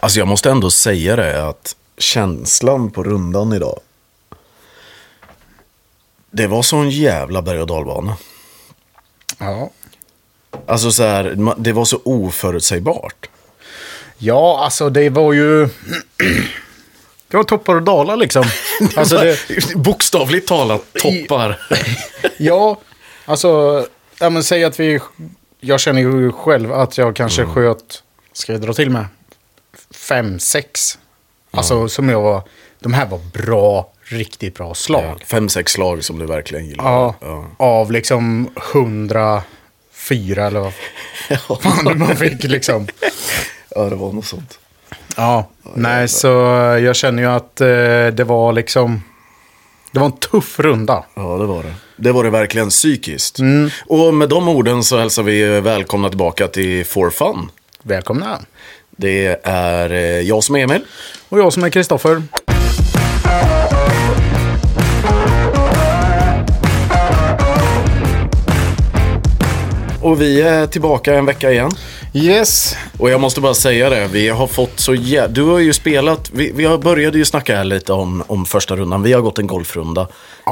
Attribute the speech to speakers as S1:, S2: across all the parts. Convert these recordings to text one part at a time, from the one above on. S1: Alltså jag måste ändå säga det att känslan på rundan idag. Det var sån jävla berg och dalbana.
S2: Ja.
S1: Alltså så här, ma- det var så oförutsägbart.
S2: ja, alltså det var ju... Det var toppar och dalar liksom. Alltså det,
S1: Bokstavligt talat toppar.
S2: ja, alltså... Ja, men säg att vi... Jag känner ju själv att jag kanske sköt... Ska jag dra till med? Fem, sex. Alltså som jag var... De här var bra, riktigt bra slag.
S1: Fem, sex slag som du verkligen gillar.
S2: Ja,
S1: Ja.
S2: av liksom 104 eller vad fan det man fick liksom.
S1: ja, det var något sånt.
S2: Ja, nej så jag känner ju att eh, det var liksom, det var en tuff runda.
S1: Ja, det var det. Det var det verkligen psykiskt.
S2: Mm.
S1: Och med de orden så hälsar vi välkomna tillbaka till For Fun.
S2: Välkomna.
S1: Det är eh, jag som är Emil.
S2: Och jag som är Kristoffer.
S1: Och vi är tillbaka en vecka igen.
S2: Yes.
S1: Och jag måste bara säga det, vi har fått så jä... Du har ju spelat, vi, vi har började ju snacka här lite om, om första rundan. Vi har gått en golfrunda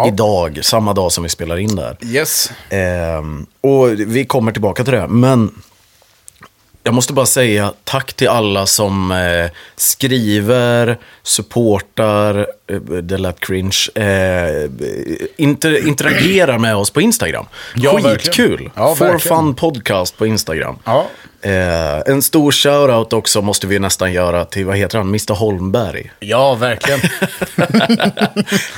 S1: idag, samma dag som vi spelar in där.
S2: Yes.
S1: Ehm, och vi kommer tillbaka till det, men jag måste bara säga tack till alla som eh, skriver, supportar, eh, det lät cringe, eh, inter, interagerar med oss på Instagram.
S2: Ja, verkligen.
S1: Skitkul!
S2: Ja,
S1: For
S2: verkligen.
S1: Fun Podcast på Instagram.
S2: Ja.
S1: Eh, en stor shoutout också måste vi nästan göra till, vad heter han, Mr Holmberg.
S2: Ja, verkligen.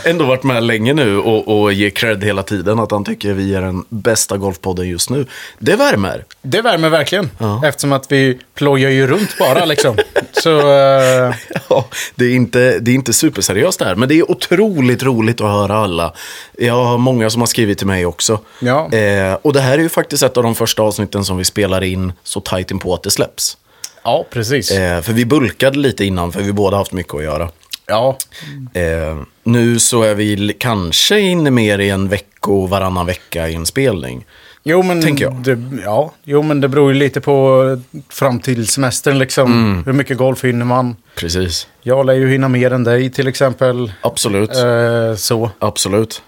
S1: Ändå varit med länge nu och, och ger cred hela tiden att han tycker vi är den bästa golfpodden just nu. Det värmer.
S2: Det värmer verkligen. Eftersom att vi plojar ju runt bara liksom. Så, eh,
S1: Ja, det, är inte, det är inte superseriöst det här, men det är otroligt roligt att höra alla. Jag har många som har skrivit till mig också.
S2: Ja.
S1: Eh, och det här är ju faktiskt ett av de första avsnitten som vi spelar in så tajt inpå att det släpps.
S2: ja, precis.
S1: Eh, för vi bulkade lite innan, för vi båda haft mycket att göra.
S2: Ja,
S1: Eh, nu så är vi l- kanske inne mer i en vecko, varannan vecka i en spelning.
S2: Jo men,
S1: Tänker jag.
S2: Det, ja, jo, men det beror ju lite på eh, fram till semestern liksom.
S1: Mm.
S2: Hur mycket golf hinner man?
S1: Precis.
S2: Jag lär ju hinna mer än dig till exempel.
S1: Absolut.
S2: Eh, så.
S1: Absolut.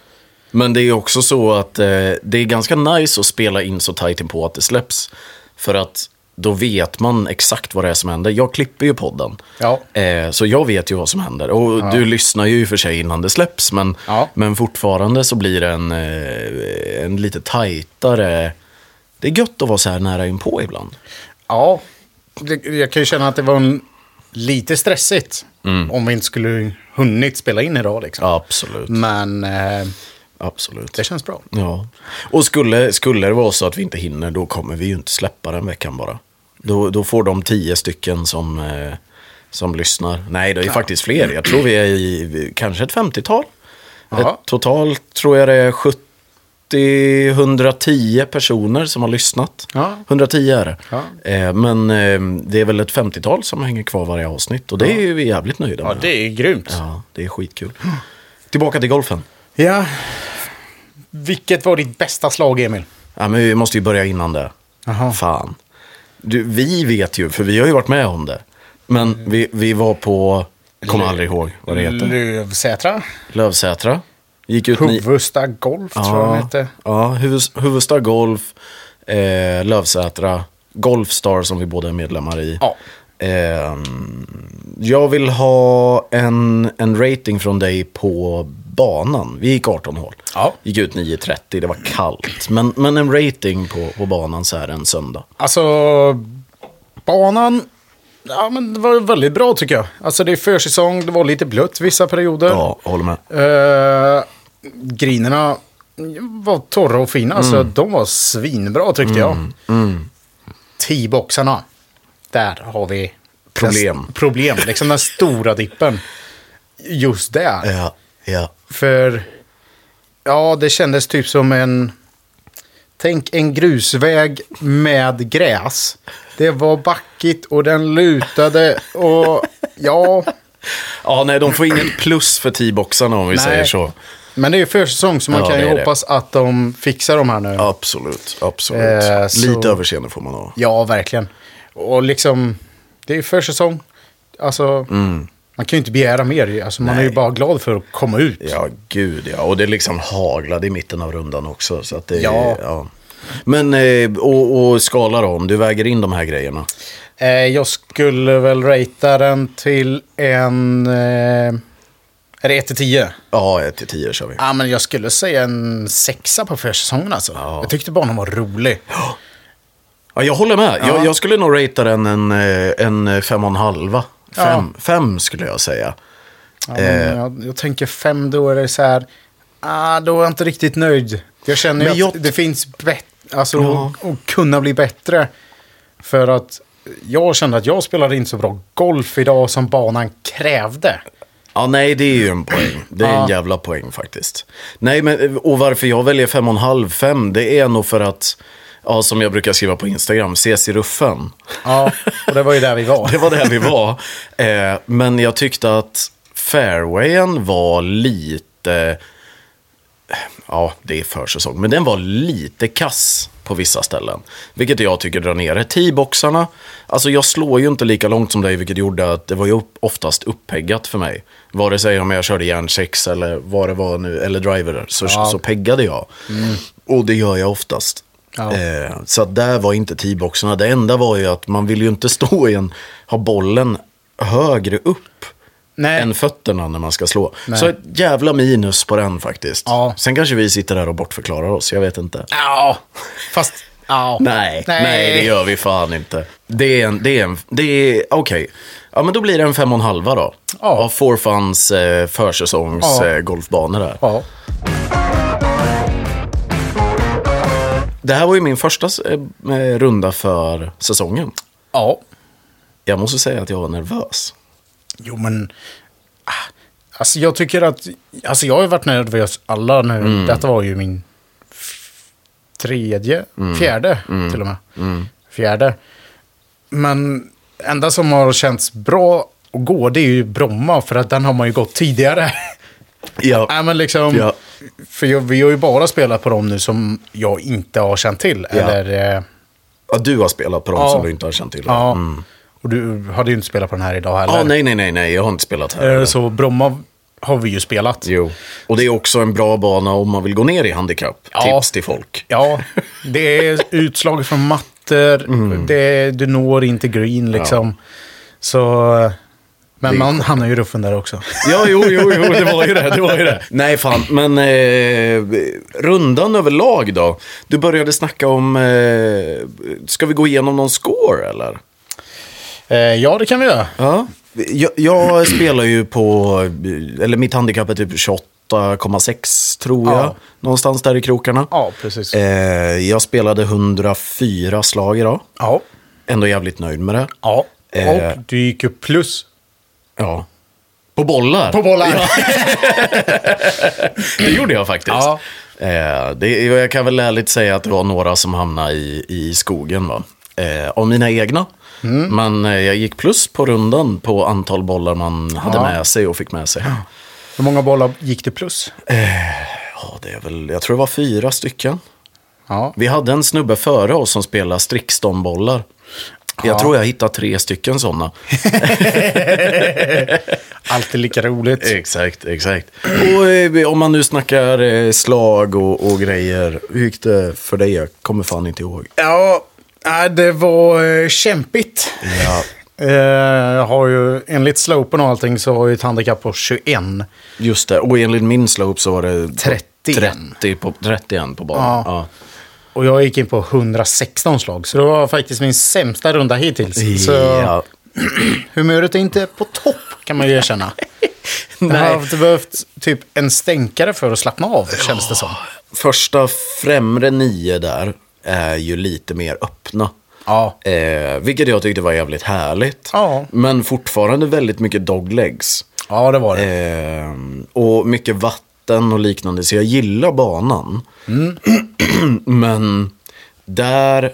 S1: Men det är också så att eh, det är ganska nice att spela in så tajt inpå att det släpps. För att då vet man exakt vad det är som händer. Jag klipper ju podden.
S2: Ja.
S1: Eh, så jag vet ju vad som händer. Och du lyssnar ju i och för sig innan det släpps. Men,
S2: Ja.
S1: men fortfarande så blir det en, eh, en lite tajtare... Det är gött att vara så här nära inpå ibland.
S2: Ja, det, jag kan ju känna att det var en, lite stressigt.
S1: Mm.
S2: Om vi inte skulle hunnit spela in idag liksom.
S1: Absolut.
S2: Men eh,
S1: Absolut.
S2: det känns bra.
S1: Ja. Och skulle, skulle det vara så att vi inte hinner, då kommer vi ju inte släppa den veckan bara. Då, då får de tio stycken som, eh, som lyssnar. Nej, det är faktiskt fler. Jag tror vi är i kanske ett 50-tal.
S2: Ja.
S1: Ett, totalt tror jag det är 70-110 personer som har lyssnat.
S2: Ja.
S1: 110 är det.
S2: Ja.
S1: Eh, men eh, det är väl ett 50-tal som hänger kvar varje avsnitt. Och det är ju vi jävligt nöjda med.
S2: är grymt. Ja.
S1: ja, det är skitkul. Tillbaka till golfen.
S2: Vilket var ditt bästa slag Emil?
S1: Ja, men vi måste ju börja innan det.
S2: Jaha.
S1: Fan. Du, vi vet ju, för vi har ju varit med om det. Men vi, vi var på, kommer aldrig ihåg vad det heter,
S2: Lövsätra?
S1: Lövsätra. Gick ut ni-
S2: Huvudsta Golf tror jag den hette.
S1: Ja, huvud, Huvudsta Golf, eh, Lövsätra, Golfstar som vi båda är medlemmar i.
S2: Ja.
S1: Ehm, jag vill ha en, en rating från dig på banan. Vi gick 18 hål.
S2: Ja.
S1: Gick ut 9.30, det var kallt. Men, men en rating på, på banan så här en söndag.
S2: Alltså, banan... Ja, men det var väldigt bra tycker jag. Alltså det är försäsong, det var lite blött vissa perioder.
S1: Ja, jag håller med.
S2: Eh, grinerna var torra och fina, så
S1: Mm.
S2: de var svinbra tyckte jag. T-boxarna, där har vi
S1: Problem.
S2: den s- problem, liksom den stora dippen. Just där.
S1: Ja, ja.
S2: För, ja, det kändes typ som en... Tänk en grusväg med gräs. Det var backigt och den lutade och ja,
S1: Ja, nej, de får inget plus för T-boxarna om vi
S2: Nej.
S1: säger så.
S2: Men det är ju försäsong så man
S1: Ja,
S2: kan
S1: det
S2: ju
S1: är det.
S2: hoppas att de fixar de här nu. Ja,
S1: Absolut, absolut.
S2: Eh, så-
S1: Lite överseende får man ha.
S2: verkligen. Och liksom, det är ju försäsong. Alltså, man kan ju inte begära mer. Alltså, man är ju
S1: Mm. Nej.
S2: bara glad för att komma ut.
S1: Ja, gud ja. Och det liksom haglade i mitten av rundan också. Så att det,
S2: Ja.
S1: ja. Men, eh, och, och skala då, om du väger in de här grejerna.
S2: Eh, jag skulle väl ratea den till en... Eh, är det 1 till 10?
S1: Ja, 1 till 10 kör vi.
S2: Ja, men jag skulle säga en sexa på försäsongen alltså.
S1: Ja.
S2: Jag tyckte banan var rolig.
S1: Ja, jag håller med.
S2: Ja.
S1: Jag, jag skulle nog ratea den en, eh, en fem och en halva.
S2: Ja.
S1: Fem, fem skulle jag säga.
S2: Ja, men
S1: Eh.
S2: jag, jag tänker fem, då är det så här... Ah, då är jag inte riktigt nöjd. Jag känner ju
S1: Men
S2: att
S1: jag-
S2: det finns bättre... Alltså,
S1: Ja.
S2: att- att kunna bli bättre. För att jag kände att jag spelade inte så bra golf idag som banan krävde.
S1: Ja, nej, det är ju en poäng. Det är
S2: Ja.
S1: en jävla poäng faktiskt. Nej, men eh, och varför jag väljer fem och en halv, fem, det är nog för att, ja, som jag brukar skriva på Instagram, ses i ruffen.
S2: Ja, och det var ju där vi var.
S1: Det var där vi var. Eh, men jag tyckte att fairwayen var lite... Ja, det är försäsong. Men den var lite kass på vissa ställen. Vilket jag tycker drar ner det. T-boxarna. Alltså jag slår ju inte lika långt som dig, vilket gjorde att det var ju upp- oftast uppeggat för mig. Vare sig om jag körde järn 6 eller vad det var nu, eller driver, så,
S2: Ja. Mm.
S1: så peggade jag. Och det gör jag oftast.
S2: Ja.
S1: Eh, så att där var inte t-boxarna. Det enda var ju att man vill ju inte stå i en, ha bollen högre upp
S2: Nej.
S1: än fötterna när man ska slå.
S2: Nej.
S1: Så ett jävla minus på den faktiskt.
S2: Ja.
S1: Sen kanske vi sitter där och bortförklarar oss, jag vet inte.
S2: Ja, fast... Ja.
S1: Nej, nej, det gör vi fan inte. Det är en, det är en, det är, okej. Ja men då blir det en fem och en halva då.
S2: Ja.
S1: Av Forfans eh, försäsongs
S2: Ja.
S1: eh, golfbanor där.
S2: Ja.
S1: Det här var ju min första eh, eh, runda för säsongen.
S2: ja.
S1: Jag måste säga att jag var nervös.
S2: Jo, men... ah, Alltså jag tycker att... Alltså jag har ju varit nervös alla nu.
S1: Mm.
S2: Detta var ju min f- tredje,
S1: Mm.
S2: fjärde till och med. Fjärde. Men enda som har känts bra att gå, det är ju Bromma. För att den har man ju gått tidigare.
S1: Ja.
S2: Nej, men liksom...
S1: Ja.
S2: För jag, vi har ju bara spelat på dem nu som jag inte har känt till.
S1: Ja.
S2: Eller... Eh,
S1: Ja, du har spelat på dem
S2: Ja.
S1: som du inte har känt till.
S2: Ja. Och du hade ju inte spelat på den här idag heller.
S1: Mm. Ja, nej, nej, nej, nej, jag har inte spelat här.
S2: Eh, Så Bromma har vi ju spelat.
S1: Jo. Och det är också en bra bana om man vill gå ner i handikapp.
S2: Ja.
S1: Tips till folk.
S2: Ja, det är utslag från mattor. Det är, du når inte green liksom. Så... Men man hamnar ju i ruffen där också.
S1: Ja, jo, jo, jo, det var ju det, det var ju det. Nej, fan, men eh, rundan överlag då? Du började snacka om, eh, ska vi gå igenom någon score eller?
S2: Eh, ja, det kan vi göra.
S1: Ja. Jag, jag spelar ju på, eller mitt handikapp är typ 28,6 tror jag.
S2: Ja.
S1: Någonstans där i krokarna.
S2: Ja, precis.
S1: Eh, jag spelade 104 slag idag.
S2: Ja.
S1: Ändå jävligt nöjd med det.
S2: ja.
S1: eh.
S2: Och du gick upp plus.
S1: Ja. På bollar?
S2: På bollar.
S1: Det gjorde jag faktiskt.
S2: Ja.
S1: Eh, det, jag kan väl ärligt säga att det var några som hamnade i, i skogen. Va? Eh, av mina egna.
S2: Mm.
S1: Men eh, jag gick plus på rundan på antal bollar man hade
S2: Ja.
S1: med sig och fick med sig.
S2: Hur många bollar gick det plus?
S1: Ja, det är väl, jag tror det var fyra stycken.
S2: Ja.
S1: Vi hade en snubbe före oss som spelade Strixton-bollar.
S2: Ja.
S1: Jag tror jag hittade tre stycken sådana.
S2: Alltid lika roligt.
S1: Exakt, exakt. Och eh, om man nu snackar eh, slag och, och grejer. Hur gick det för dig? Jag kommer fan inte ihåg.
S2: Ja, nej, det var eh, kämpigt.
S1: Ja.
S2: Eh, Jag har ju, enligt slopen och allting så har jag ett handikapp på 21.
S1: Just det, och enligt min slope så var det...
S2: 31.
S1: 30 på, 31 på banan.
S2: Ja.
S1: Ja.
S2: Och jag gick in på 116 slag. Så det var faktiskt min sämsta runda hittills. Så
S1: Ja.
S2: humöret är inte på topp kan man ju erkänna. Jag har haft behövt typ en stänkare för att slappna av känns det som.
S1: Första främre nio där är ju lite mer öppna.
S2: Ja.
S1: Eh, vilket jag tyckte var jävligt härligt.
S2: Ja.
S1: Men fortfarande väldigt mycket doglegs.
S2: Ja, det
S1: Eh.
S2: var det.
S1: Ehm, och mycket vatten och liknande. Så jag gillar banan. Men där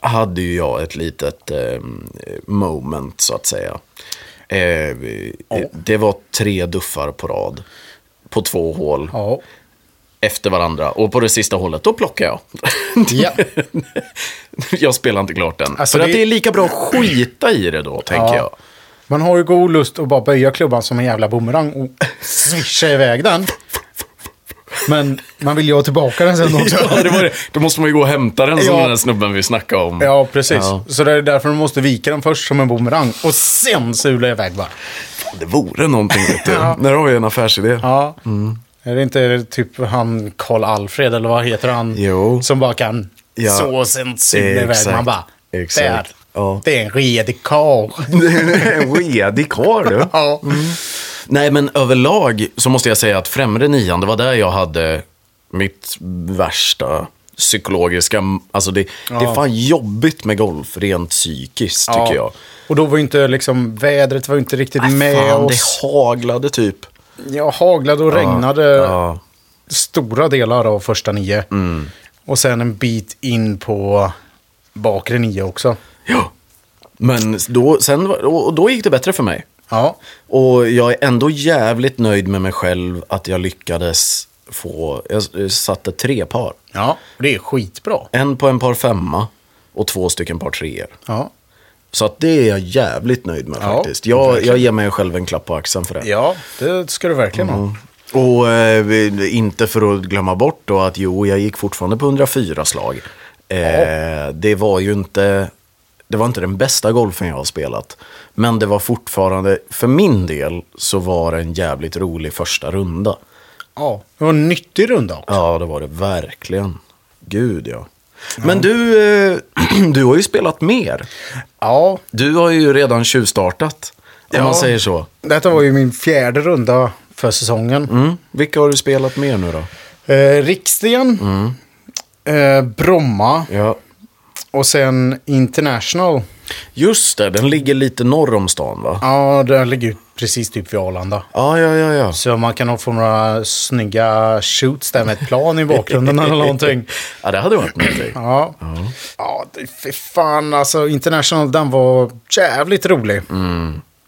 S1: hade ju jag ett litet ehm, moment så att säga. Eh, Det var tre duffar på rad. På två hål
S2: Ja.
S1: efter varandra. Och på det sista hålet, då plockar jag.
S2: Ja.
S1: jag spelar inte klart den.
S2: Alltså,
S1: För
S2: det-
S1: att det är lika bra att skita i det då, tänker
S2: Ja.
S1: jag.
S2: Man har ju god lust att bara böja klubban som en jävla bumerang och swisha iväg den. Men man vill ju ha tillbaka den sen också.
S1: Ja, det var det. Då måste man ju gå och hämta den som
S2: Ja.
S1: den här snubben vi snackade om.
S2: Ja, precis.
S1: Ja.
S2: Så det är därför man måste vika den först som en bumerang och sen sula iväg bara.
S1: Det vore någonting, vet du.
S2: Ja.
S1: När har vi en affärsidé?
S2: Ja.
S1: Mm.
S2: Är det inte typ han Karl-Alfred eller vad heter han?
S1: Jo.
S2: Som bara kan
S1: Ja.
S2: såsen sula iväg.
S1: Exakt.
S2: Man bara,
S1: Exakt.
S2: där.
S1: Ja. Mm,
S2: Det är en redig karl.
S1: En redig karl, du.
S2: Ja.
S1: Nej, men överlag så måste jag säga att främre nian, det var där jag hade mitt värsta psykologiska... Alltså det, det är fan jobbigt med golf rent psykiskt, tycker jag.
S2: Och då var ju inte liksom, vädret var ju inte riktigt med
S1: fan,
S2: oss.
S1: det haglade typ.
S2: Ja, haglade och regnade
S1: Ja. Mm.
S2: stora delar av första nio. Och sen en bit in på bakre nio också.
S1: Ja. Men då, sen, var- och då gick det bättre för mig.
S2: Ja,
S1: Och jag är ändå jävligt nöjd med mig själv att jag lyckades få... Jag s- satte tre par.
S2: ja det är skitbra.
S1: En på en par femma och två stycken par treor.
S2: Ja.
S1: Så att det är jag jävligt nöjd med
S2: Ja,
S1: faktiskt. Jag,
S2: verkligen.
S1: jag ger mig själv en klapp på axeln för det.
S2: ja, det ska du verkligen
S1: Mm.
S2: ha.
S1: Och eh, vi- inte för att glömma bort då att jo, jag gick fortfarande på 104 slag. Eh, det var ju inte, det var inte den bästa golfen jag har spelat. Men det var fortfarande, för min del, så var det en jävligt rolig första runda.
S2: Ja. Det var en nyttig runda också.
S1: Ja, det var det verkligen. Gud ja. Men du, eh, du har ju spelat mer.
S2: Ja,
S1: Du har ju redan tjuvstartat, om
S2: Ja.
S1: man säger så.
S2: detta var ju min fjärde runda för säsongen.
S1: Mm. Vilka har du spelat mer nu då?
S2: Eh, Riksten,
S1: Mm.
S2: eh, Bromma
S1: Ja.
S2: och sen International.
S1: Just det, den ligger lite norr om stan va?
S2: Ja, den ligger ju precis typ vid Arlanda.
S1: Ja, ja, ja, ja.
S2: Så man kan nog få några snygga shoots där med ett plan i bakgrunden eller någonting.
S1: Ja, det hade varit någonting.
S2: Ja, ja det, fy fan alltså. International, den var jävligt rolig.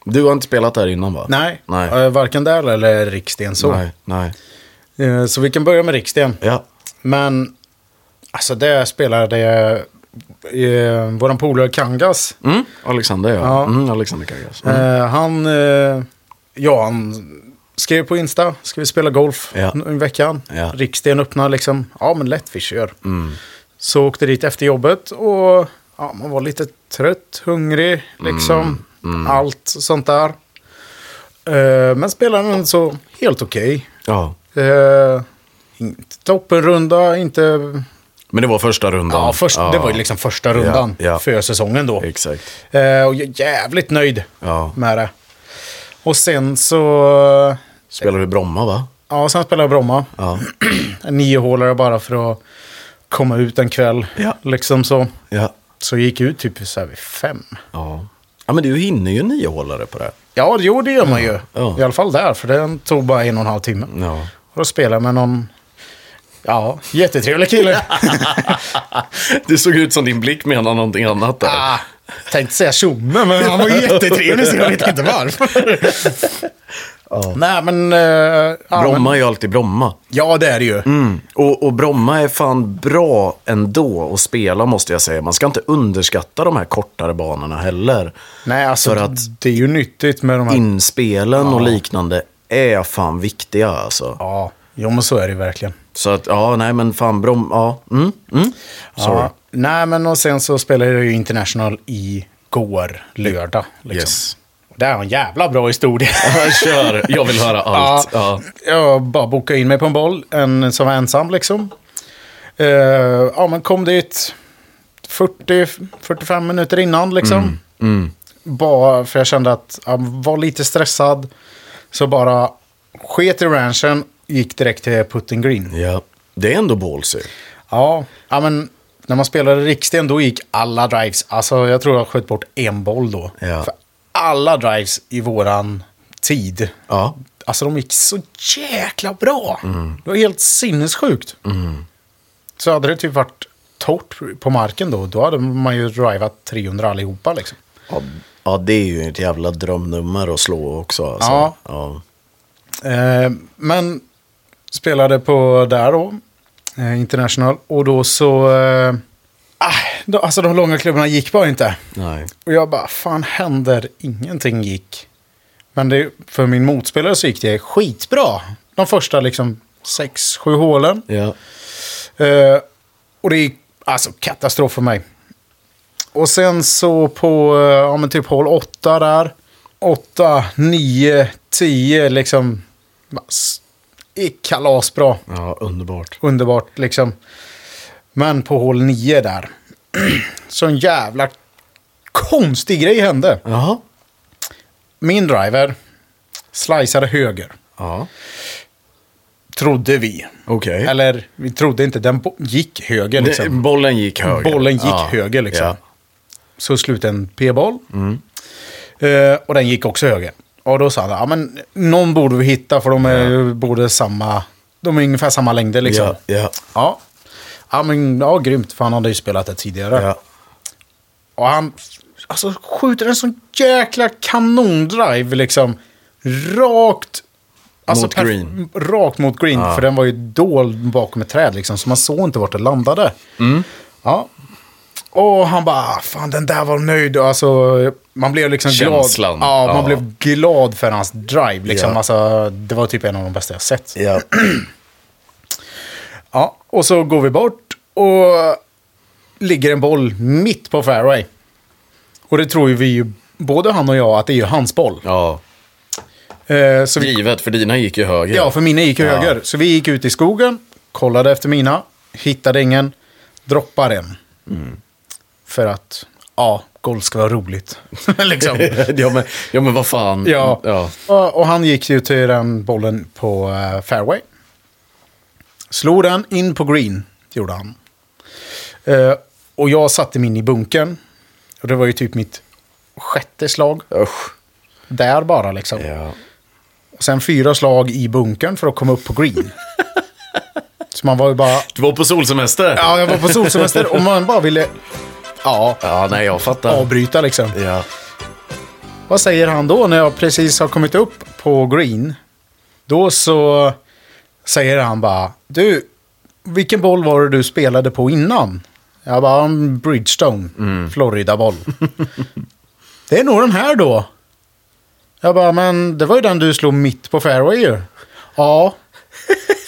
S1: Du har inte spelat där innan va?
S2: Nej,
S1: Mm. Nej.
S2: Eh, varken där eller Riksten så.
S1: Nej, nej.
S2: Eh, Så vi kan börja med Riksten.
S1: Ja.
S2: Men, alltså det spelade eh, våran polare Kangas.
S1: Mm, Alexander ja.
S2: Ja.
S1: Mm, Alexander Kaggas. Mm.
S2: Eh, han, eh, ja han skrev på Insta, ska vi spela golf
S1: Ja.
S2: nu i veckan?
S1: Ja. Mm.
S2: Riksten öppnar liksom, ja men lätt vi kör. Så åkte dit efter jobbet och ja, man var lite trött, hungrig,
S1: Mm.
S2: liksom. Allt sånt där. Eh, men spelaren så helt okej.
S1: Ja.
S2: Eh, inte toppenrunda, inte
S1: Men det var första rundan.
S2: Ja, först, det var ju liksom första rundan
S1: Ja, ja.
S2: för säsongen då.
S1: Exakt.
S2: Eh, och jag är jävligt nöjd
S1: Ja.
S2: med det. Och sen så...
S1: Spelar du Bromma va?
S2: Ja, sen spelade jag Bromma.
S1: Ja.
S2: En niohålare bara för att komma ut en kväll.
S1: Ja.
S2: Liksom så.
S1: Ja.
S2: Så jag gick ut typ så här vid fem.
S1: Ja. Ja, men du hinner ju niohålare på det.
S2: Ja, jo, det gör man ju.
S1: Ja. Mm.
S2: I alla fall där, för den tog bara en och en halv timme.
S1: Ja.
S2: Och då spelade jag med någon... Ja, jättetrevlig kille.
S1: Det såg ut som din blick menade någonting annat där.
S2: Ah, tänkte säga tjomme, men han var ju jättetrevlig så jag vet inte varför. Nej, men... eh, ja, men-
S1: Bromma är ju alltid Bromma.
S2: Ja, det är det ju.
S1: Mm. Och, och Bromma är fan bra ändå att spela måste jag säga. Man ska inte underskatta de här kortare banorna heller.
S2: Nej, alltså
S1: För
S2: för
S1: att-
S2: att... det är ju nyttigt med de här...
S1: Inspelen och liknande är fan viktiga alltså.
S2: Ja, jo men så är det ju verkligen.
S1: Så att, ja, nej men fan Bromma, ja. Mm, mm. Sorry.
S2: Ja. Nej, men och sen så spelade jag ju International i går, lördag. Liksom.
S1: Yes.
S2: Och Det är en jävla bra historia.
S1: Kör, jag vill höra allt. Ja.
S2: Jag bara bokade in mig på en boll, en som var ensam liksom. Eh, ja, men kom dit 40-45 minuter innan liksom.
S1: Mm,
S2: Bara för jag kände att jag var lite stressad. Så bara sket i ranchen, gick direkt till putting green.
S1: ja. Det är ändå ballsy.
S2: Ja, ja men när man spelade Riksten då gick alla drives. Alltså jag tror jag sköt bort en boll då.
S1: Ja.
S2: För alla drives i våran tid.
S1: Ja.
S2: Alltså de gick så jäkla bra. Det var helt sinnessjukt. Så hade det typ varit torrt på marken då, då hade man ju drivat 300 allihopa liksom.
S1: Ja, ja, det är ju ett jävla drömnummer att slå också. Alltså.
S2: Ja.
S1: Ja.
S2: Eh, men spelade på där då, eh, International. Och då så, eh, ah, de, alltså de långa klubborna gick bara inte.
S1: Nej.
S2: Och jag bara, fan händer? Ingenting gick. Men det, för min motspelare så gick det skitbra. De första liksom sex, sju hålen.
S1: Ja.
S2: Eh, och det gick alltså katastrof för mig. Och sen så på eh, ja, men typ hål åtta där. Åtta, nio, tio liksom. bara s- Gick kalasbra.
S1: ja, underbart.
S2: Underbart liksom. Men på hål nio där. så en jävla konstig grej hände.
S1: Jaha.
S2: Min driver sliceade höger.
S1: Ja.
S2: Trodde vi.
S1: Okej.
S2: Eller vi trodde inte, den bo- gick höger liksom.
S1: Det- mm. Bollen gick höger.
S2: Bollen gick
S1: Ja.
S2: höger liksom.
S1: Ja.
S2: Så slutade en p-boll.
S1: Mm.
S2: Eh, och den gick också höger. Och då sa han, ja men någon borde vi hitta för de är ju både samma, de är ungefär samma längder liksom.
S1: Ja, ja,
S2: Ja. Ja men, ja grymt, för han hade ju spelat det tidigare.
S1: ja.
S2: Och han, alltså skjuter en sån jäkla kanondrive liksom. Rakt. alltså,
S1: Mot
S2: perf-
S1: green.
S2: Rakt mot green, för den var ju dold bakom ett träd liksom. Så man såg inte vart det landade.
S1: Mm.
S2: Ja. Och han bara, "Ah, fan den där var nöjd. Och Alltså, man blev liksom
S1: Känslan.
S2: glad. Ja, man
S1: Ja.
S2: blev glad för hans drive liksom.
S1: Ja.
S2: Alltså, det var typ en av de bästa jag sett.
S1: ja.
S2: Ja, och så går vi bort och ligger en boll mitt på fairway. Och det tror ju vi ju, både han och jag, att det är ju hans boll.
S1: ja.
S2: Eh, så vi,
S1: Givet, för dina gick ju höger.
S2: ja, för mina gick ju höger. Så vi gick ut i skogen, kollade efter mina, hittade ingen, droppade en. För att, ja, golf ska vara roligt. liksom.
S1: ja, men, ja, men vad fan.
S2: Ja.
S1: ja.
S2: Och, och han gick ju till den bollen på eh, fairway. Slog den in på green, gjorde han. Eh, och jag satte min i bunkern. Och det var ju typ mitt sjätte slag.
S1: Usch.
S2: Där bara liksom.
S1: Ja.
S2: Och sen fyra slag i bunkern för att komma upp på green. Så man var ju bara...
S1: Du var på solsemester?
S2: Ja, jag var på solsemester och man bara ville... Ja,
S1: Ja, nej, jag fattar.
S2: avbryta liksom.
S1: Ja.
S2: Vad säger han då när jag precis har kommit upp på green? Då så säger han bara, du, vilken boll var det du spelade på innan? Jag bara, "Mm, Bridgestone, Florida-boll. det är nog den här då. Jag bara, men det var ju den du slog mitt på fairway ju. Ja,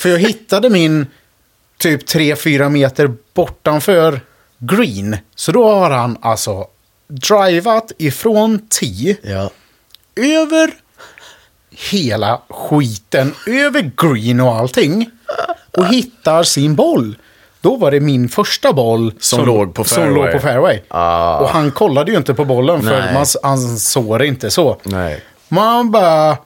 S2: för jag hittade min typ 3-4 meter bortanför green. Så då har han alltså drivat ifrån 10
S1: Ja.
S2: över hela skiten, över green och allting och hittar sin boll. Då var det min första boll
S1: Som låg på
S2: Som
S1: fairway.
S2: låg på fairway.
S1: Ah.
S2: Och han kollade ju inte på bollen för
S1: Nej.
S2: man, han såg det inte så.
S1: Nej.
S2: Man bara...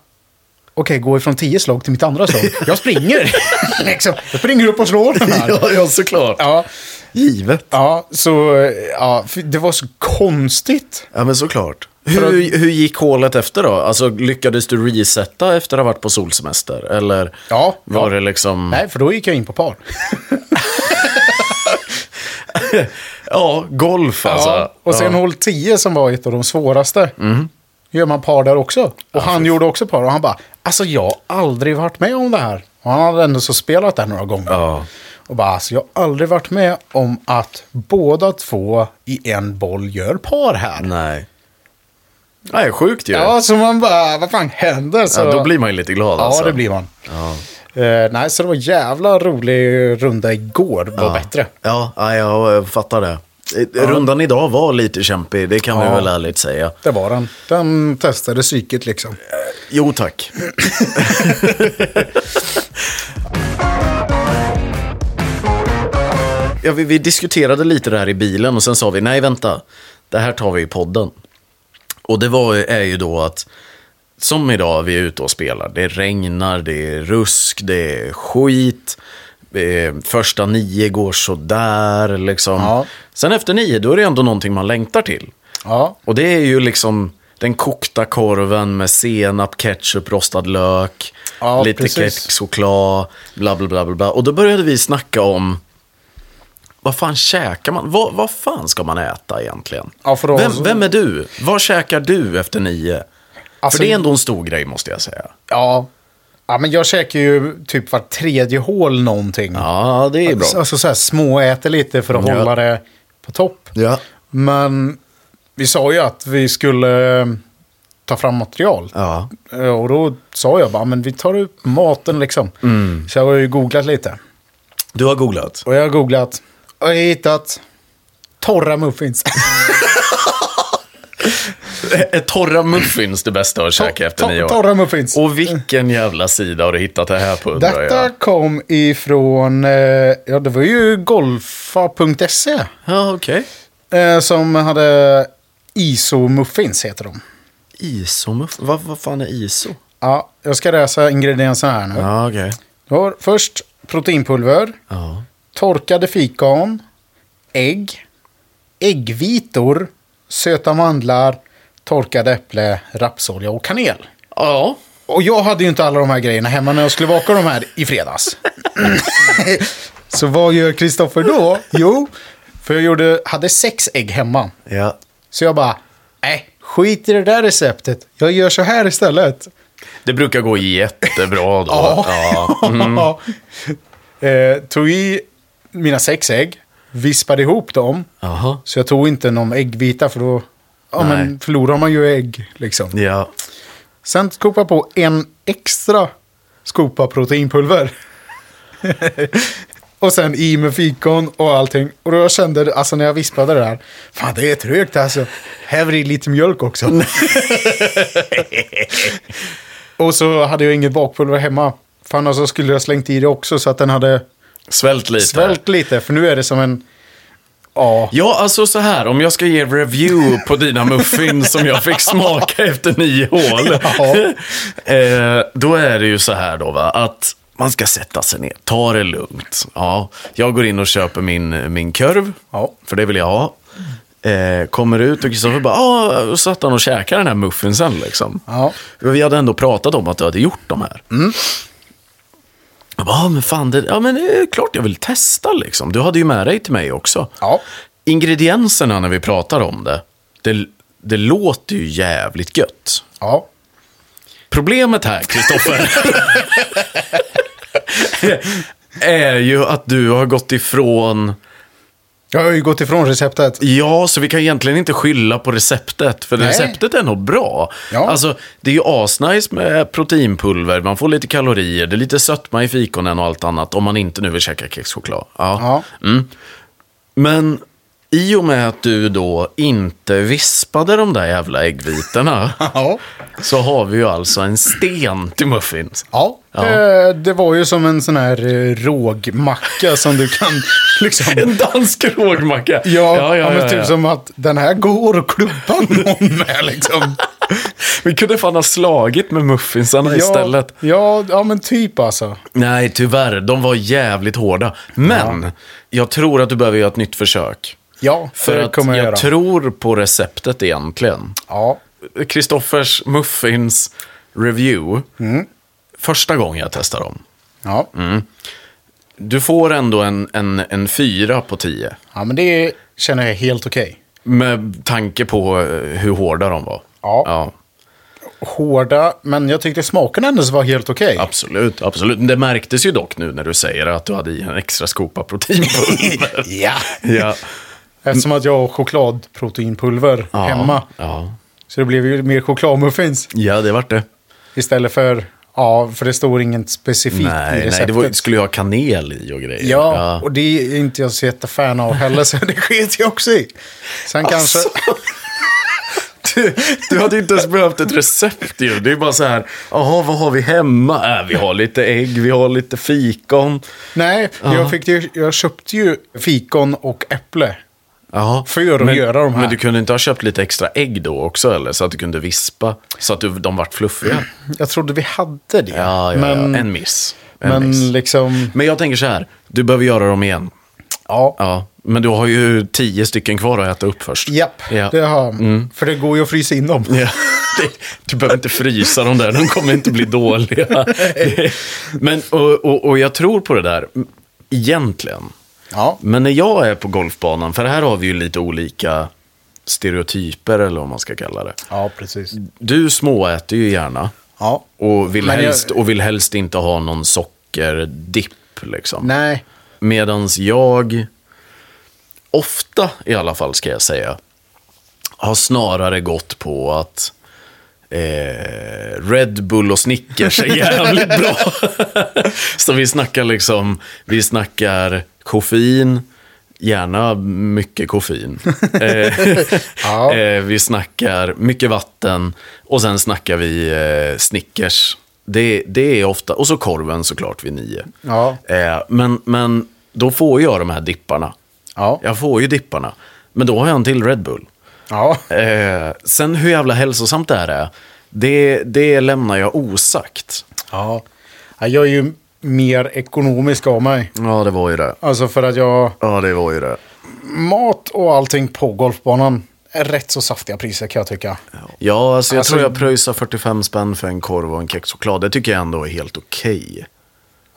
S2: Okej, gå ifrån tio slag till mitt andra slag. Jag springer! liksom. Jag springer upp och slår den här.
S1: Ja, ja, såklart.
S2: Ja,
S1: Givet.
S2: ja så... Ja, för det var så konstigt.
S1: Ja, men såklart.
S2: För att-
S1: Hur, hur gick hålet efter då? Alltså, lyckades du resetta efter att ha varit på solsemester? Eller
S2: Ja,
S1: var
S2: ja.
S1: det liksom...
S2: Nej, för då gick jag in på par.
S1: Ja, golf alltså. Mm.
S2: Ja, och sen hål 10 som var ett av de svåraste. Gör man par där också. Och han gjorde också par. Och han bara, alltså jag har aldrig varit med om det här. Och han hade ändå så spelat där några gånger.
S1: Ja.
S2: Och bara, alltså jag har aldrig varit med om att båda två i en boll gör par här.
S1: Nej. Nej, sjukt ju.
S2: Ja, så man bara, vad fan händer? Så...
S1: Ja, då blir man ju lite glad alltså.
S2: Ja, det blir man. Eh, nej, så det var en jävla rolig runda igår. Det var bättre.
S1: Ja, ja, jag fattar det. Rundan idag var lite kämpig, det kan vi
S2: Ja.
S1: väl ärligt säga.
S2: Det var den. Den testade psyket liksom.
S1: Jo tack. ja, vi, vi diskuterade lite det här i bilen och sen sa vi, nej vänta, det här tar vi i podden. Och det var, är ju då att, som idag, vi är ute och spelar. Det regnar, det är rusk, det är skit. Eh, Första nio går sådär, liksom.
S2: Ja.
S1: Sen efter nio, då är det ändå någonting man längtar till.
S2: Ja.
S1: Och det är ju liksom den kokta korven med senap, ketchup, rostad lök,
S2: Ja,
S1: lite
S2: precis.
S1: kexchoklad, bla bla bla bla bla. Och då började vi snacka om vad fan käkar man? Vad, vad fan ska man äta egentligen?
S2: Ja, för då-
S1: vem, vem är du? Vad käkar du efter nio?
S2: Alltså-
S1: för det är ändå en stor grej måste jag säga.
S2: Ja. ja, men jag käkar ju typ var tredje hål någonting.
S1: Ja, det är bra. Mm,
S2: Alltså så här småäter lite för att
S1: Ja.
S2: hålla det på topp.
S1: Ja.
S2: Men vi sa ju att vi skulle eh, ta fram material.
S1: Ja.
S2: Eh, Och då sa jag bara, men vi tar upp maten liksom.
S1: Mm.
S2: Så jag har ju googlat lite.
S1: Du har googlat.
S2: Och jag har googlat och jag har hittat torra muffins.
S1: Är torra muffins det bästa att käka efter
S2: Tor-
S1: nio år?
S2: Torra muffins.
S1: Och vilken jävla sida har du hittat det här på undrar
S2: Detta
S1: jag?
S2: kom ifrån, eh, ja det var ju golfa.se.
S1: Ja, okej.
S2: Eh, som hade ISO-muffins heter de.
S1: Isomuff? Vad, vad fan är iso?
S2: Ja, jag ska läsa ingredienserna här nu.
S1: Ja, okej.
S2: Du har först proteinpulver,
S1: Ja.
S2: torkade fikon, ägg, äggvitor, söta mandlar, torkade äpple, rapsolja och kanel.
S1: Ja.
S2: Och jag hade ju inte alla de här grejerna hemma när jag skulle baka de här i fredags. Så vad gör Kristoffer då? Jo, för jag gjorde, hade sex ägg hemma.
S1: Ja.
S2: Så jag bara, nej, skit i det där receptet. Jag gör så här istället.
S1: Det brukar gå jättebra då.
S2: Ja. eh, tog i mina sex ägg, vispade ihop dem.
S1: Jaha.
S2: Så jag tog inte någon äggvita för då ja,
S1: Nej.
S2: men förlorar man ju ägg. Liksom.
S1: Ja.
S2: Sen skopade jag på en extra skopa proteinpulver. och sen i med fikon och allting. Och då kände alltså när jag vispade det där. Fan det är trögt alltså. Häver i lite mjölk också. och så hade jag inget bakpulver hemma. Fan alltså skulle jag slängt i det också så att den hade
S1: Svält lite.
S2: svält lite. För nu är det som en... Ja.
S1: Ja, alltså så här, om jag ska ge review på dina muffins som jag fick smaka efter nio hål. eh, då är det ju så här då, va, att man ska sätta sig ner, ta det lugnt. Ja, jag går in och köper min, min kurv,
S2: Ja.
S1: för det vill jag ha. Eh, kommer ut och Kristoffer bara, ja, och satt han och käkade den här muffinsen liksom.
S2: Ja.
S1: För Vi hade ändå pratat om att du hade gjort de här. Jag bara, ja men fan, det, ja, men det är klart jag vill testa liksom. Du hade ju med dig till mig också.
S2: Ja.
S1: Ingredienserna när vi pratar om det, det, det låter ju jävligt gött.
S2: Ja.
S1: Problemet här, Kristoffer, är ju att du har gått ifrån...
S2: Jag har ju gått ifrån receptet.
S1: Ja, så vi kan egentligen inte skylla på receptet, för
S2: Nej.
S1: receptet är nog bra.
S2: Ja.
S1: Alltså, det är ju asnice med proteinpulver, man får lite kalorier, det är lite sötma i fikonen och allt annat, om man inte nu vill käka kexchoklad.
S2: Ja.
S1: Men i och med att du då inte vispade de där jävla äggvitorna
S2: Ja.
S1: så har vi ju alltså en sten till muffins.
S2: Ja, Det, det var ju som en sån här eh, rågmacka som du kan liksom...
S1: En dansk rågmacka.
S2: Ja, ja, men typ som att den här går att klubba någon med liksom.
S1: Vi kunde fan ha slagit med muffinsarna istället.
S2: Ja, ja, ja, men typ alltså.
S1: Nej, tyvärr. De var jävligt hårda. Men jag tror att du behöver göra ett nytt försök.
S2: Ja,
S1: För
S2: det
S1: att
S2: kommer
S1: jag,
S2: jag göra.
S1: tror på receptet egentligen.
S2: Ja,
S1: Kristoffers muffins review. Första gången jag testar dem.
S2: ja.
S1: Mm. Du får ändå en, en, en fyra på tio.
S2: ja, men det känner jag är helt okej.
S1: Med tanke på eh, hur hårda de var.
S2: Ja.
S1: ja
S2: Hårda, men jag tyckte smaken ändå var helt okej.
S1: absolut, absolut. Det märktes ju dock nu när du säger att du hade i en extra skopa proteinpulver.
S2: Ja.
S1: ja.
S2: Eftersom att jag har chokladproteinpulver
S1: Ja.
S2: hemma.
S1: Ja.
S2: Så det blev ju mer chokladmuffins
S1: ja, det vart det.
S2: istället för... Ja, för det står inget specifikt i
S1: Nej,
S2: receptet.
S1: nej, det var, skulle ju ha kanel i och grejer.
S2: Ja, och det är inte jag så jättefan av heller, så det sket jag också i. Sen kanske...
S1: Du, du hade ju inte ens behövt ett recept ju. Det är bara så här, jaha, vad har vi hemma? Äh, vi har lite ägg, vi har lite fikon.
S2: Nej, jag, fick ju, jag köpte ju fikon och äpple.
S1: Jaha.
S2: För att
S1: men,
S2: göra de här.
S1: Men du kunde inte ha köpt lite extra ägg då också eller? Så att du kunde vispa, så att du, de vart fluffiga.
S2: Jag trodde vi hade det.
S1: Ja, ja,
S2: Mm. men
S1: ja. En miss. En men...
S2: men
S1: miss.
S2: liksom,
S1: Men jag tänker så här, du behöver göra dem igen.
S2: ja.
S1: Ja, men du har ju tio stycken kvar att äta upp först.
S2: Japp,
S1: Ja. Mm.
S2: det har För det går ju att frysa in dem.
S1: Ja, det, du behöver inte frysa dem där, de kommer inte bli dåliga. Det- Men, och, och, och jag tror på det där, egentligen.
S2: Ja,
S1: Men när jag är på golfbanan, för här har vi ju lite olika stereotyper eller vad man ska kalla det.
S2: ja precis. Du,
S1: Du småäter ju gärna
S2: ja.
S1: och vill,
S2: Men jag-
S1: helst, och vill helst inte ha någon sockerdipp liksom.
S2: Nej,
S1: Medans jag ofta i alla fall ska jag säga, har snarare gått på att eh, Red Bull och Snickers är jävligt bra. Så vi snackar liksom, vi snackar koffein, gärna mycket koffein. Eh,
S2: Ja.
S1: Eh, vi snackar mycket vatten och sen snackar vi eh, Snickers. Det, det är ofta, och så korven såklart vid nio.
S2: Ja.
S1: Eh, men, men då får jag de här dipparna.
S2: Ja.
S1: Jag får ju dipparna. Men då har jag en till Red Bull.
S2: Ja.
S1: Eh, sen hur jävla hälsosamt det här är, det, det lämnar jag osagt.
S2: ja. Jag är ju mer ekonomisk av mig.
S1: Ja, det var ju det.
S2: Alltså för att jag...
S1: Ja, det var ju det.
S2: Mat och allting på golfbanan är rätt så saftiga priser kan jag tycka.
S1: Ja, alltså jag
S2: Alltså-
S1: tror jag pröjsar 45 spänn för en korv och en kexchoklad. Det tycker jag ändå är helt okej.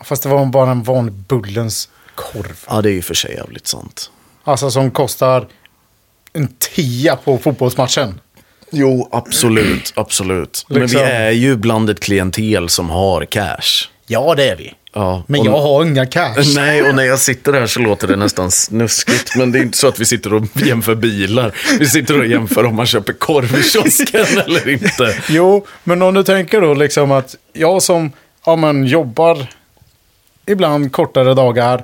S2: Fast det var bara en vanlig Bullens korv.
S1: Ja, det är ju för sig jävligt sant.
S2: Alltså som kostar en tia på fotbollsmatchen.
S1: Jo, absolut, absolut. Men vi
S2: Liksom.
S1: är ju bland ett klientel som har cash.
S2: Ja, det är vi.
S1: Ja,
S2: Men
S1: och-
S2: jag har inga cash.
S1: Nej, och när jag sitter här så låter det nästan snuskigt. Men det är inte så att vi sitter och jämför bilar. Vi sitter och jämför om man köper korv i kiosken eller inte.
S2: Jo, men om du tänker då liksom att jag som ja, men, jobbar ibland kortare dagar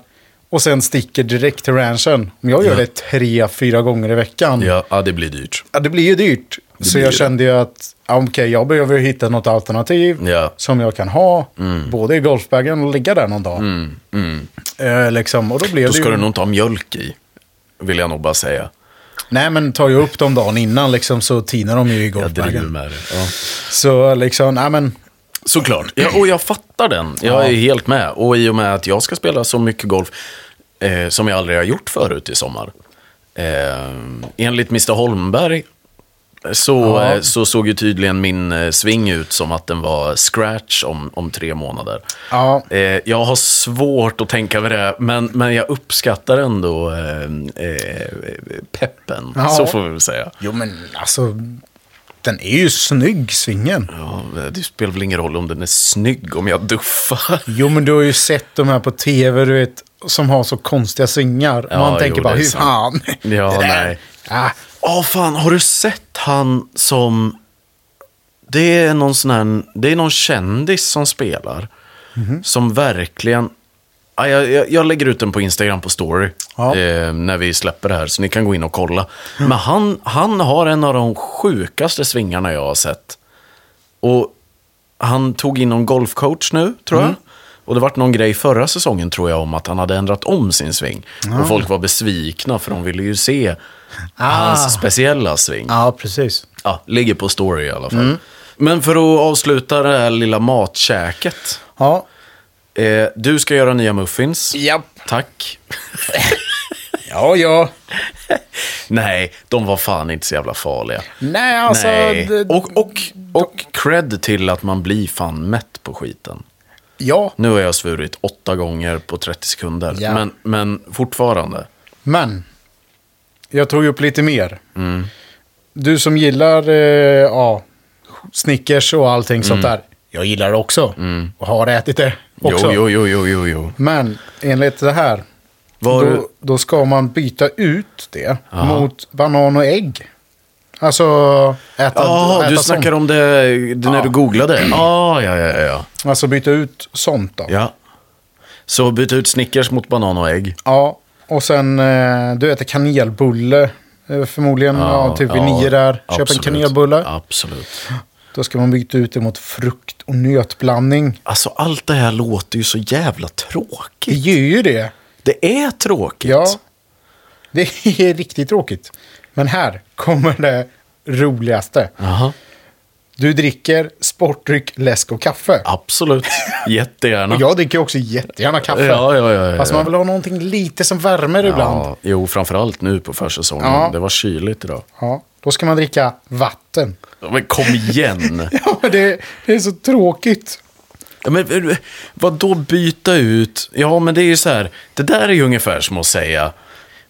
S2: och sen sticker direkt till ranchen. Om jag gör det tre, fyra gånger i veckan.
S1: Ja, ja, det blir dyrt.
S2: Ja, det blir ju dyrt. så
S1: blir
S2: jag
S1: det.
S2: kände ju att ja, okej, jag behöver ju hitta något alternativ
S1: Ja. Mm.
S2: som jag kan ha. Både i golfbagen och ligga där någon dag. Eh, liksom, och då blev
S1: Då
S2: det
S1: ska
S2: ju...
S1: du nog inte ha mjölk i, vill jag nog bara säga.
S2: Nej, men tar jag upp dem dagen innan liksom, så tinar de ju i
S1: Jag driver
S2: golfbagen.
S1: med det. Ja.
S2: Så liksom, nej men...
S1: Såklart. Ja, och jag fattar den. Jag är helt med. Och i och med att jag ska spela så mycket golf eh, som jag aldrig har gjort förut i sommar. Eh, enligt Mr Holmberg så, eh, så såg ju tydligen min eh, sving ut som att den var scratch om, om tre månader.
S2: Ja,
S1: Eh, jag har svårt att tänka över det, men, men jag uppskattar ändå eh, eh, peppen.
S2: Ja.
S1: Så får vi väl säga.
S2: Jo men alltså, den är ju snygg svingen.
S1: Ja, Eh, det spelar väl ingen roll om den är snygg om jag duffar.
S2: Jo men du har ju sett de här på tv, du vet, som har så konstiga svingar.
S1: Ja,
S2: Man
S1: jo,
S2: tänker bara,
S1: det är
S2: hur
S1: sant.
S2: fan?
S1: Ja,
S2: Det där-
S1: nej.
S2: Ah,
S1: Ja, fan, har du sett han som... Det är någon sån här, det är någon kändis som spelar. Som verkligen... Ja, jag, jag, jag lägger ut den på Instagram på story.
S2: Ja.
S1: Eh, när vi släpper det här, så ni kan gå in och kolla. Men han, han har en av de sjukaste svingarna jag har sett. Och han tog in någon golfcoach nu, tror jag. Och det vart någon grej förra säsongen, tror jag, om att han hade ändrat om sin sving. Och folk var besvikna, för de ville ju se hans speciella sving.
S2: ja, precis.
S1: Ja, ligger på story i alla fall. Men för att avsluta det här lilla matkäket.
S2: Ja,
S1: Eh, du ska göra nya muffins.
S2: japp.
S1: Tack.
S2: Ja, ja.
S1: Nej, de var fan inte så jävla farliga.
S2: Nej, alltså.
S1: Nej.
S2: d-
S1: Och, och, och cred till att man blir fan mätt på skiten.
S2: Ja,
S1: Nu har jag svurit åtta gånger på 30 sekunder.
S2: Ja.
S1: Men, men fortfarande.
S2: men. Jag tog upp lite mer.
S1: Mm.
S2: Du som gillar, eh, ja, Snickers och allting sånt där. Jag gillar det också. Och har ätit det också.
S1: Mm. Jo, jo, jo, jo, jo.
S2: Men enligt det här.
S1: Var
S2: Då, då ska man byta ut det
S1: Aha.
S2: mot banan och ägg. Alltså äta,
S1: Jaha,
S2: äta
S1: du
S2: sånt.
S1: snackar om det, det när du
S2: Mm.
S1: googlade? Ah, ja, ja, ja, ja.
S2: Alltså byta ut sånt då. Ja,
S1: ja. Så byt ut Snickers mot banan och ägg.
S2: och sen eh, du äter kanelbulle eh, förmodligen. Ja, typ vid nio där. Köp
S1: absolut.
S2: en kanelbulle.
S1: Absolut.
S2: Då ska man byta ut det mot frukt och nötblandning.
S1: Alltså allt det här låter ju så jävla
S2: Det
S1: tråkigt.
S2: gör ju det.
S1: Det är tråkigt.
S2: Ja. Det är riktigt tråkigt. Men här kommer det roligaste.
S1: Jaha,
S2: Du dricker sportdryck, läsk och kaffe.
S1: absolut. Jättegärna.
S2: Och jag dricker också jättegärna kaffe.
S1: Ja, ja, ja, ja,
S2: Fast
S1: ja.
S2: man vill ha någonting lite som värmer ibland.
S1: Ja, jo, framförallt nu på försäsongen.
S2: Ja.
S1: Det var kyligt idag.
S2: Ja, då ska man dricka vatten.
S1: Ja, Men kom igen.
S2: Ja, men det, det är så tråkigt.
S1: Ja, men eh, vad då byta ut? Ja, men det är ju så här. Det där är ju ungefär som att säga,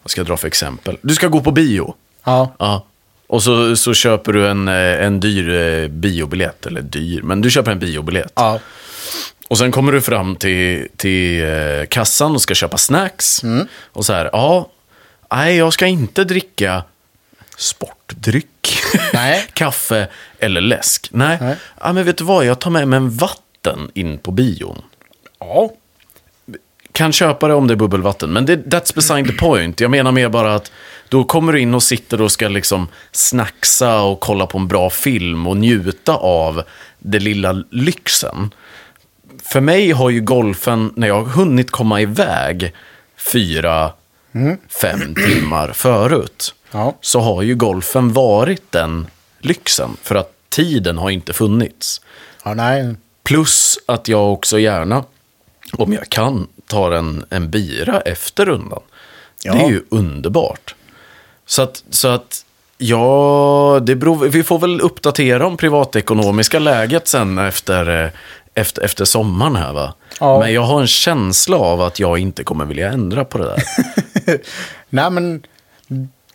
S1: vad ska jag dra för exempel? Du ska gå på bio.
S2: Ja,
S1: Ja. Och så, så köper du en, eh, en dyr eh, biobiljett, eller dyr, men du köper en biobiljett.
S2: ja,
S1: Och sen kommer du
S2: Mm.
S1: fram till, till eh, kassan och ska köpa snacks. Och så här, ja, nej, jag ska inte dricka sportdryck,
S2: Nej.
S1: kaffe eller läsk. Nej,
S2: Nej.
S1: Ja, men vet du vad, jag tar med mig en vatten in på bion.
S2: Ja.
S1: Kan köpa det om det är bubbelvatten, men det, that's beside the point. Jag menar mer bara att då kommer du in och sitter och ska liksom snacksa och kolla på en bra film och njuta av det lilla lyxen. För mig har ju golfen, när jag har hunnit komma iväg fyra, fem timmar förut,
S2: Ja.
S1: så har ju golfen varit den lyxen. För att tiden har inte funnits.
S2: Ja, nej.
S1: Plus att jag också gärna, om jag kan, tar en, en bira efter rundan.
S2: Ja.
S1: Det är ju underbart. Så att, så att ja, det beror, vi får väl uppdatera om privatekonomiska läget sen efter, eh, efter, efter sommaren här va.
S2: Ja.
S1: Men jag har en känsla av att jag inte kommer vilja ändra på det där.
S2: Nej, men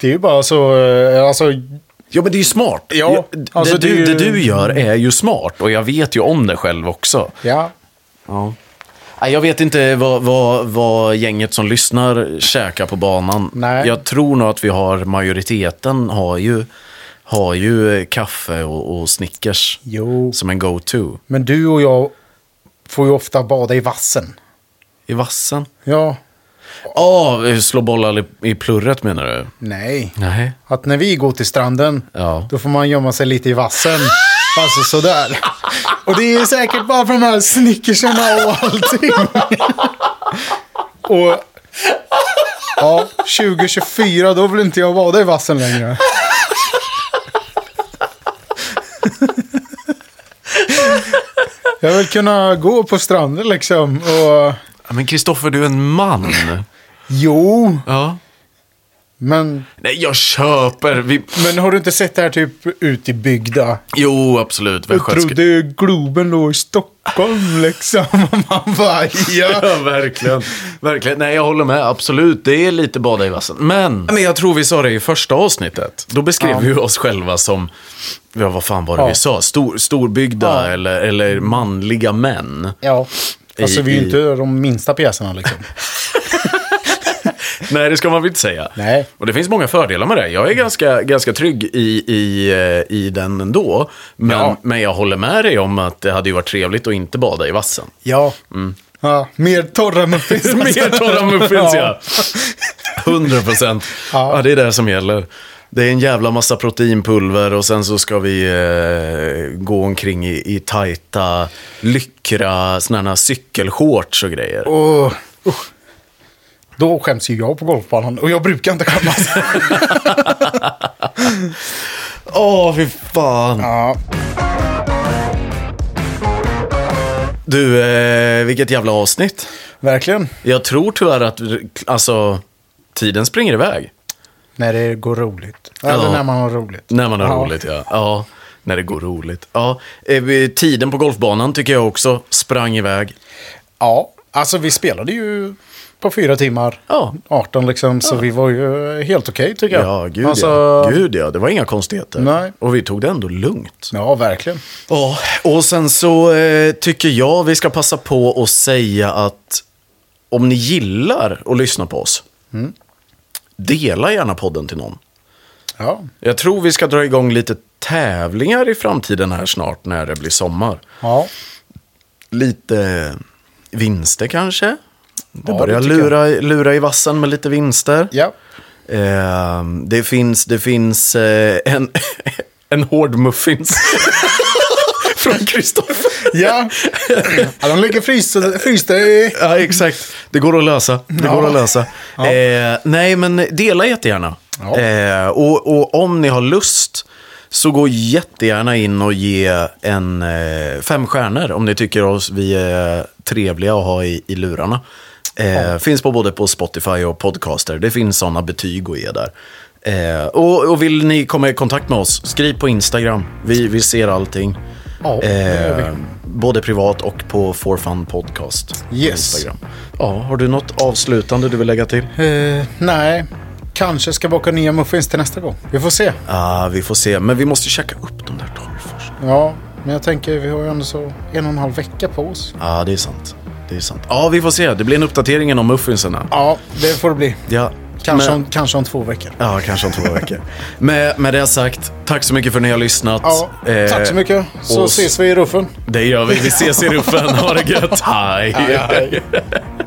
S2: det är ju bara så... eh, Alltså,
S1: Ja, men det är ju smart.
S2: Ja, alltså,
S1: det,
S2: det är
S1: du,
S2: ju-
S1: det du gör är ju smart och jag vet ju om det själv också.
S2: ja.
S1: Ja. Nej, Jag vet inte vad, vad, vad gänget som lyssnar käkar på banan.
S2: Nej.
S1: Jag tror nog att vi har, majoriteten har ju, har ju kaffe och, och Snickers
S2: Jo.
S1: som en go-to.
S2: Men du och jag får ju ofta bada i vassen.
S1: I vassen?
S2: Ja.
S1: Ja, slå bollar i, i plurret menar du?
S2: Nej.
S1: Nej.
S2: Att när vi går till stranden,
S1: Ja.
S2: då får man gömma sig lite i vassen. Alltså sådär. Och det är ju säkert bara för de här snickerserna och allting. Och... Ja, 2024, då vill inte jag vara i vassen längre. Jag vill kunna gå på stranden liksom och...
S1: Men Kristoffer, du är en man.
S2: Jo,
S1: ja.
S2: men...
S1: Nej, jag köper. Vi...
S2: Men har du inte sett det här typ ute i bygda?
S1: Jo, absolut.
S2: Jag trodde Globen låg i Stockholm liksom. Man bara, ja.
S1: Ja, verkligen. verkligen. Nej, jag håller med. Absolut, det är lite bada i vassen. Men, men jag tror vi sa det i första avsnittet. Då beskrev vi oss själva som, ja, vad fan var det
S2: Ja.
S1: vi sa? Stor, storbyggda eller, eller manliga män.
S2: ja. Alltså
S1: I-
S2: vi är ju
S1: i-
S2: inte de minsta pjäserna liksom.
S1: Nej, det ska man väl inte säga.
S2: Nej.
S1: Och det finns många fördelar med det. Jag är ganska, ganska trygg i, i, eh, i den ändå. Men,
S2: Ja.
S1: men jag håller med dig om att det hade ju varit trevligt att inte bada i vassen.
S2: Ja. ja. Mer torra muffins.
S1: Mm. Mer torra muffins, ja. 100 procent. Ja.
S2: Ja.
S1: det är det som gäller. Det är en jävla massa proteinpulver och sen så ska vi eh, gå omkring i, i tajta lyckra sådana här cykelshorts och grejer.
S2: Och, usch. Då skäms ju jag på golfbanan och jag brukar inte skämmas.
S1: Åh, fy fan.
S2: ja.
S1: Du, eh, vilket jävla avsnitt.
S2: Verkligen.
S1: Jag tror tyvärr att, alltså, tiden springer iväg.
S2: När det går roligt. Eller
S1: Ja.
S2: när man har roligt.
S1: När man har
S2: Ja.
S1: roligt, ja. ja. När det går roligt. Ja, eh, tiden på golfbanan tycker jag också sprang iväg.
S2: Ja. Alltså vi spelade ju på fyra timmar.
S1: Ja.
S2: 18 liksom. Så vi var ju helt okej tycker jag.
S1: Ja, gud,
S2: alltså,
S1: ja. gud ja. Det var inga konstigheter.
S2: Nej.
S1: Och vi tog det ändå lugnt.
S2: Ja, verkligen.
S1: Ja, och sen så eh, tycker jag vi ska passa på att säga att om ni gillar att lyssna på oss, dela gärna podden till någon.
S2: Ja.
S1: Jag tror vi ska dra igång lite tävlingar i framtiden här snart när det blir sommar.
S2: Ja.
S1: Lite vinster kanske? Det
S2: Ja,
S1: börjar
S2: det tycker jag.
S1: lura, lura i vassen med lite vinster.
S2: Ja.
S1: Eh, det finns, det finns eh, en, en hård muffins från Kristoffer.
S2: Ja. ja, de ligger frysta, frysta i...
S1: Ja, exakt. Det går att lösa. Det går att lösa. Eh, nej, men dela jättegärna.
S2: Ja.
S1: Eh, och, och om ni har lust så gå jättegärna in och ge en eh, fem stjärnor om ni tycker oss vi är trevliga att ha i, i lurarna. Eh, Finns på både på Spotify och podcaster. Det finns sådana betyg att ge där. Eh, och, och vill ni komma i kontakt med oss, skriv på Instagram. Vi, vi ser allting.
S2: Ja, det gör vi.
S1: Eh, både privat och på For Fun Podcast. på
S2: Yes.
S1: Instagram. Ja, har du något avslutande du vill lägga till?
S2: Eh, nej. Kanske ska baka nya muffins till nästa gång. Vi får se.
S1: Ah, vi får se, men vi måste checka upp de där tolv först.
S2: Ja, men jag tänker vi har ju ändå så en och en halv vecka på oss.
S1: Ja, ah, det är sant. Det är sant. Ja, vi får se. Det blir en uppdatering om muffinserna.
S2: Ja, det får det bli.
S1: Ja.
S2: Kanske,
S1: Men-
S2: om, kanske om två veckor.
S1: Ja, kanske om två veckor. Med, med det sagt, tack så mycket för att ni har lyssnat.
S2: Ja, tack så
S1: Eh,
S2: mycket. Så
S1: och-
S2: ses vi i ruffen.
S1: Det gör vi. Vi ses i ruffen. Ha det gött. Hej.
S2: Hej, hej.